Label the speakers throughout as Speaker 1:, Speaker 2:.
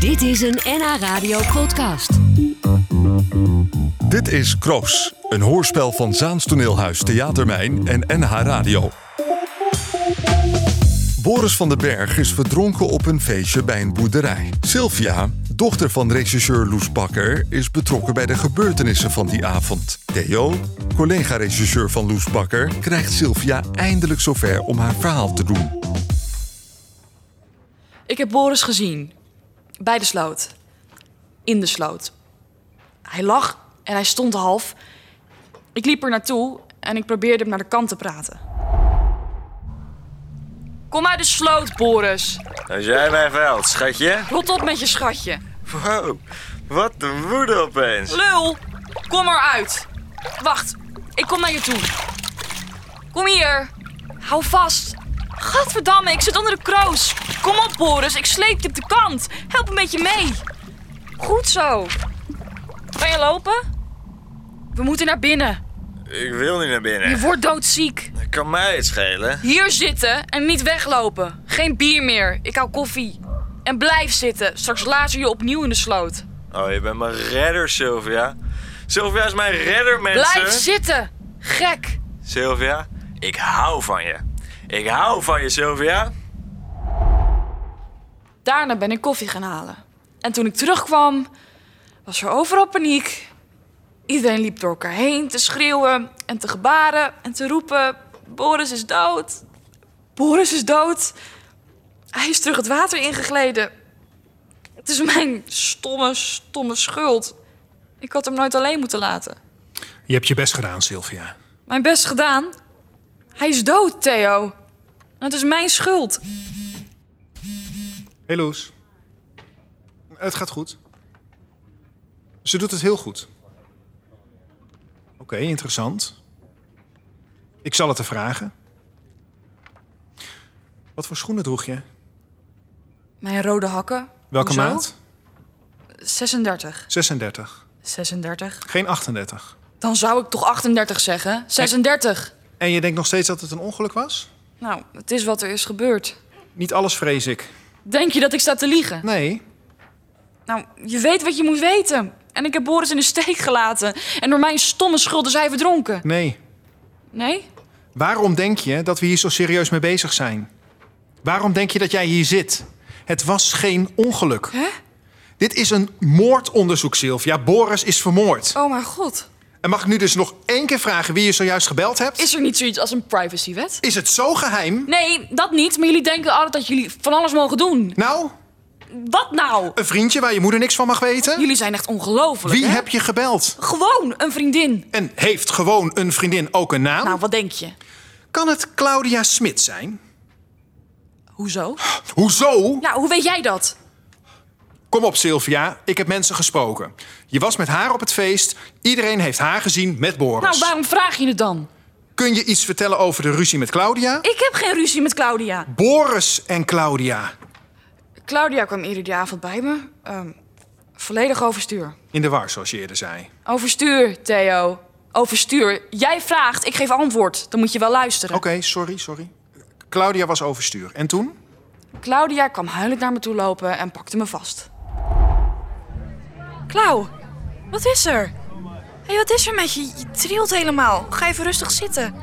Speaker 1: Dit is een NH Radio podcast.
Speaker 2: Dit is Kroos, een hoorspel van Zaans Toneelhuis, Theatermijn en NH Radio. Boris van den Berg is verdronken op een feestje bij een boerderij. Sylvia, dochter van regisseur Loes Bakker, is betrokken bij de gebeurtenissen van die avond. Theo, collega-regisseur van Loes Bakker, krijgt Sylvia eindelijk zover om haar verhaal te doen.
Speaker 3: Ik heb Boris gezien. Bij de sloot. In de sloot. Hij lag en hij stond half. Ik liep er naartoe en ik probeerde hem naar de kant te praten. Kom uit de sloot, Boris.
Speaker 4: Als jij mij veld, schatje.
Speaker 3: Rot op met je schatje.
Speaker 4: Wow, wat een woede opeens.
Speaker 3: Lul, kom eruit. Wacht, ik kom naar je toe. Kom hier. Hou vast. Gadverdamme, ik zit onder de kroos. Kom op, Boris, ik sleep je op de kant. Help een beetje mee. Goed zo. Kan je lopen? We moeten naar binnen.
Speaker 4: Ik wil niet naar binnen.
Speaker 3: Je wordt doodziek.
Speaker 4: Dat kan mij het schelen.
Speaker 3: Hier zitten en niet weglopen. Geen bier meer. Ik hou koffie. En blijf zitten. Straks lazer je opnieuw in de sloot.
Speaker 4: Oh, je bent mijn redder, Sylvia. Sylvia is mijn redder, mensen.
Speaker 3: Blijf zitten. Gek.
Speaker 4: Sylvia, ik hou van je. Ik hou van je, Sylvia.
Speaker 3: Daarna ben ik koffie gaan halen. En toen ik terugkwam, was er overal paniek. Iedereen liep door elkaar heen te schreeuwen en te gebaren en te roepen: Boris is dood. Boris is dood. Hij is terug het water ingegleden. Het is mijn stomme, stomme schuld. Ik had hem nooit alleen moeten laten.
Speaker 5: Je hebt je best gedaan, Sylvia.
Speaker 3: Mijn best gedaan. Hij is dood, Theo. En het is mijn schuld.
Speaker 5: Hey Loes. Het gaat goed. Ze doet het heel goed. Oké, interessant. Ik zal het haar vragen. Wat voor schoenen droeg je?
Speaker 3: Mijn rode hakken.
Speaker 5: Welke
Speaker 3: Hoezo?
Speaker 5: maat?
Speaker 3: 36.
Speaker 5: 36.
Speaker 3: 36.
Speaker 5: Geen 38.
Speaker 3: Dan zou ik toch 38 zeggen? 36.
Speaker 5: En je denkt nog steeds dat het een ongeluk was?
Speaker 3: Nou, het is wat er is gebeurd.
Speaker 5: Niet alles vrees ik.
Speaker 3: Denk je dat ik sta te liegen?
Speaker 5: Nee,
Speaker 3: Nou, je weet wat je moet weten. En ik heb Boris in de steek gelaten. En door mijn stomme schuld is hij verdronken.
Speaker 5: nee.
Speaker 3: Nee?
Speaker 5: Waarom denk je dat we hier zo serieus mee bezig zijn? Waarom denk je dat jij hier zit? Het was geen ongeluk.
Speaker 3: Hè?
Speaker 5: Dit is een moordonderzoek, Sylvia. Boris is vermoord.
Speaker 3: Oh mijn god.
Speaker 5: En mag ik nu dus nog één keer vragen wie je zojuist gebeld hebt?
Speaker 3: Is er niet zoiets als een privacywet?
Speaker 5: Is het zo geheim?
Speaker 3: Nee, dat niet. Maar jullie denken altijd dat jullie van alles mogen doen.
Speaker 5: Nou,
Speaker 3: Wat nou?
Speaker 5: een vriendje waar je moeder niks van mag weten?
Speaker 3: Jullie zijn echt ongelooflijk.
Speaker 5: Wie
Speaker 3: hè?
Speaker 5: heb je gebeld?
Speaker 3: Gewoon een vriendin.
Speaker 5: En heeft gewoon een vriendin ook een naam?
Speaker 3: Nou, wat denk je?
Speaker 5: Kan het Claudia Smit zijn?
Speaker 3: Hoezo?
Speaker 5: Hoezo?
Speaker 3: Nou, hoe weet jij dat?
Speaker 5: Kom op, Sylvia. Ik heb mensen gesproken. Je was met haar op het feest. Iedereen heeft haar gezien met Boris.
Speaker 3: Nou, waarom vraag je het dan?
Speaker 5: Kun je iets vertellen over de ruzie met Claudia?
Speaker 3: Ik heb geen ruzie met Claudia.
Speaker 5: Boris en Claudia.
Speaker 3: Claudia kwam eerder die avond bij me. Ehm, volledig overstuur.
Speaker 5: In de war, zoals je eerder zei.
Speaker 3: Overstuur, Theo. Overstuur. Jij vraagt, ik geef antwoord. Dan moet je wel luisteren.
Speaker 5: Oké, sorry, sorry. Claudia was overstuur. En toen?
Speaker 3: Claudia kwam huilend naar me toe lopen en pakte me vast. Klauw, wat is er? Hé, wat is er met je? Je trilt helemaal. Ga even rustig zitten.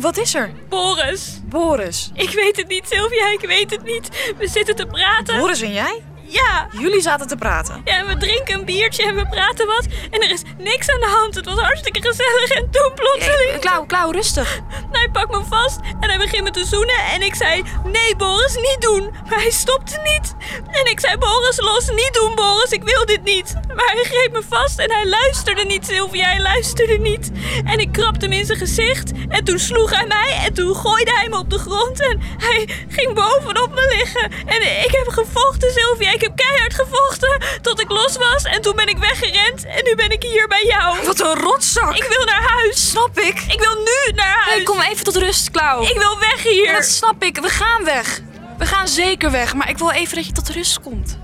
Speaker 3: Wat is er?
Speaker 6: Boris,
Speaker 3: Boris.
Speaker 6: ik weet het niet. Sylvia, ik weet het niet. We zitten te praten.
Speaker 3: Boris en jij?
Speaker 6: Ja.
Speaker 3: Jullie zaten te praten.
Speaker 6: ja, en we drinken een biertje en we praten wat. En er is niks aan de hand. Het was hartstikke gezellig. En toen plotseling...
Speaker 3: Klauw, Klauw, rustig.
Speaker 6: Hij pakt me vast en hij begint me te zoenen. En ik zei, nee Boris, niet doen. Maar hij stopte niet. En ik zei, Boris, los, niet doen Boris, ik wil dit niet. Maar hij greep me vast en hij luisterde niet, Sylvia, hij luisterde niet. En ik krabde hem in zijn gezicht. En toen sloeg hij mij en toen gooide hij me op de grond. En hij ging bovenop me liggen. En ik heb gevochten, Sylvia, ik heb keihard gevochten. Tot ik los was en toen ben ik weggerend. En nu ben ik hier bij jou.
Speaker 3: Wat een rotzak.
Speaker 6: Ik wil naar huis.
Speaker 3: Snap ik.
Speaker 6: Ik wil nu naar huis.
Speaker 3: Hey, kom even tot rust, Klauw.
Speaker 6: Ik wil weg hier.
Speaker 3: Dat snap ik. We gaan weg. We gaan zeker weg. Maar ik wil even dat je tot rust komt.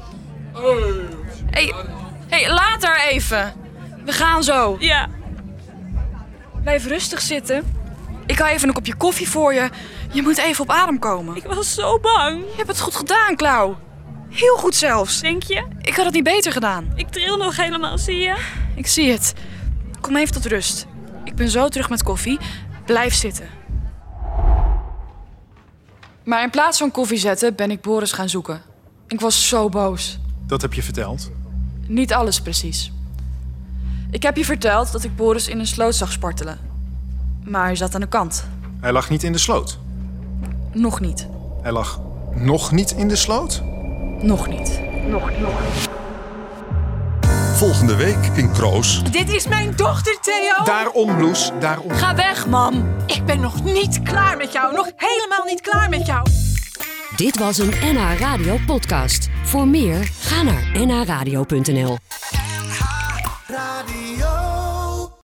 Speaker 3: hey, hey, later even. We gaan zo.
Speaker 6: Ja,
Speaker 3: Blijf rustig zitten. Ik hou even een kopje koffie voor je. Je moet even op adem komen.
Speaker 6: ik was zo bang.
Speaker 3: Je hebt het goed gedaan, Klauw. Heel goed zelfs.
Speaker 6: Denk je?
Speaker 3: Ik had het niet beter gedaan.
Speaker 6: Ik tril nog helemaal, zie je?
Speaker 3: Ik zie het. Kom even tot rust. Ik ben zo terug met koffie. Blijf zitten. Maar in plaats van koffie zetten ben ik Boris gaan zoeken. Ik was zo boos.
Speaker 5: Dat heb je verteld.
Speaker 3: Niet alles precies. Ik heb je verteld dat ik Boris in een sloot zag spartelen. Maar hij zat aan de kant.
Speaker 5: Hij lag niet in de sloot.
Speaker 3: Nog niet.
Speaker 5: Hij lag nog niet in de sloot?
Speaker 3: Nog niet.
Speaker 2: Volgende week in Kroos.
Speaker 7: Dit is mijn dochter, Theo.
Speaker 5: Daarom, Loes, daarom.
Speaker 3: Ga weg, mam.
Speaker 7: Ik ben nog niet klaar met jou. Nog helemaal niet klaar met jou.
Speaker 1: Dit was een NH Radio podcast. Voor meer, ga naar nhradio.nl.